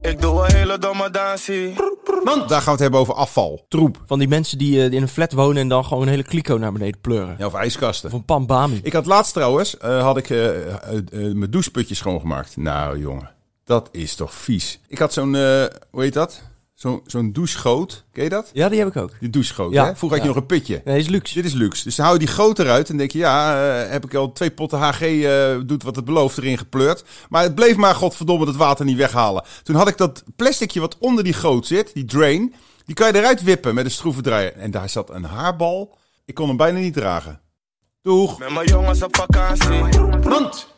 Ik doe een hele domme dansie. Daar gaan we het hebben over afval, troep Van die mensen die eh, in een flat wonen en dan gewoon een hele kliko naar beneden pleuren. ja, of ijskasten. Of een pambami. Ik had laatst trouwens, eh, had ik eh, eh, eh, mijn doucheputje schoongemaakt. Nou jongen, dat is toch vies. Ik had zo'n, eh, hoe heet dat? Zo'n zo'n douchegoot, ken je dat? Ja, die heb ik ook. Die douchegoot, Ja. hè? Vroeger had je Ja. nog een putje. Nee, is luxe. Dit is luxe. Dus dan hou je die goot eruit en denk je, ja, eh, heb ik al twee potten HG, eh, doet wat het belooft, erin gepleurd. Maar het bleef maar, godverdomme, dat water niet weghalen. Toen had ik dat plasticje wat onder die goot zit, die drain, die kan je eruit wippen met een schroevendraaier. En daar zat een haarbal. Ik kon hem bijna niet dragen. Doeg. Met mijn jongens op vakantie.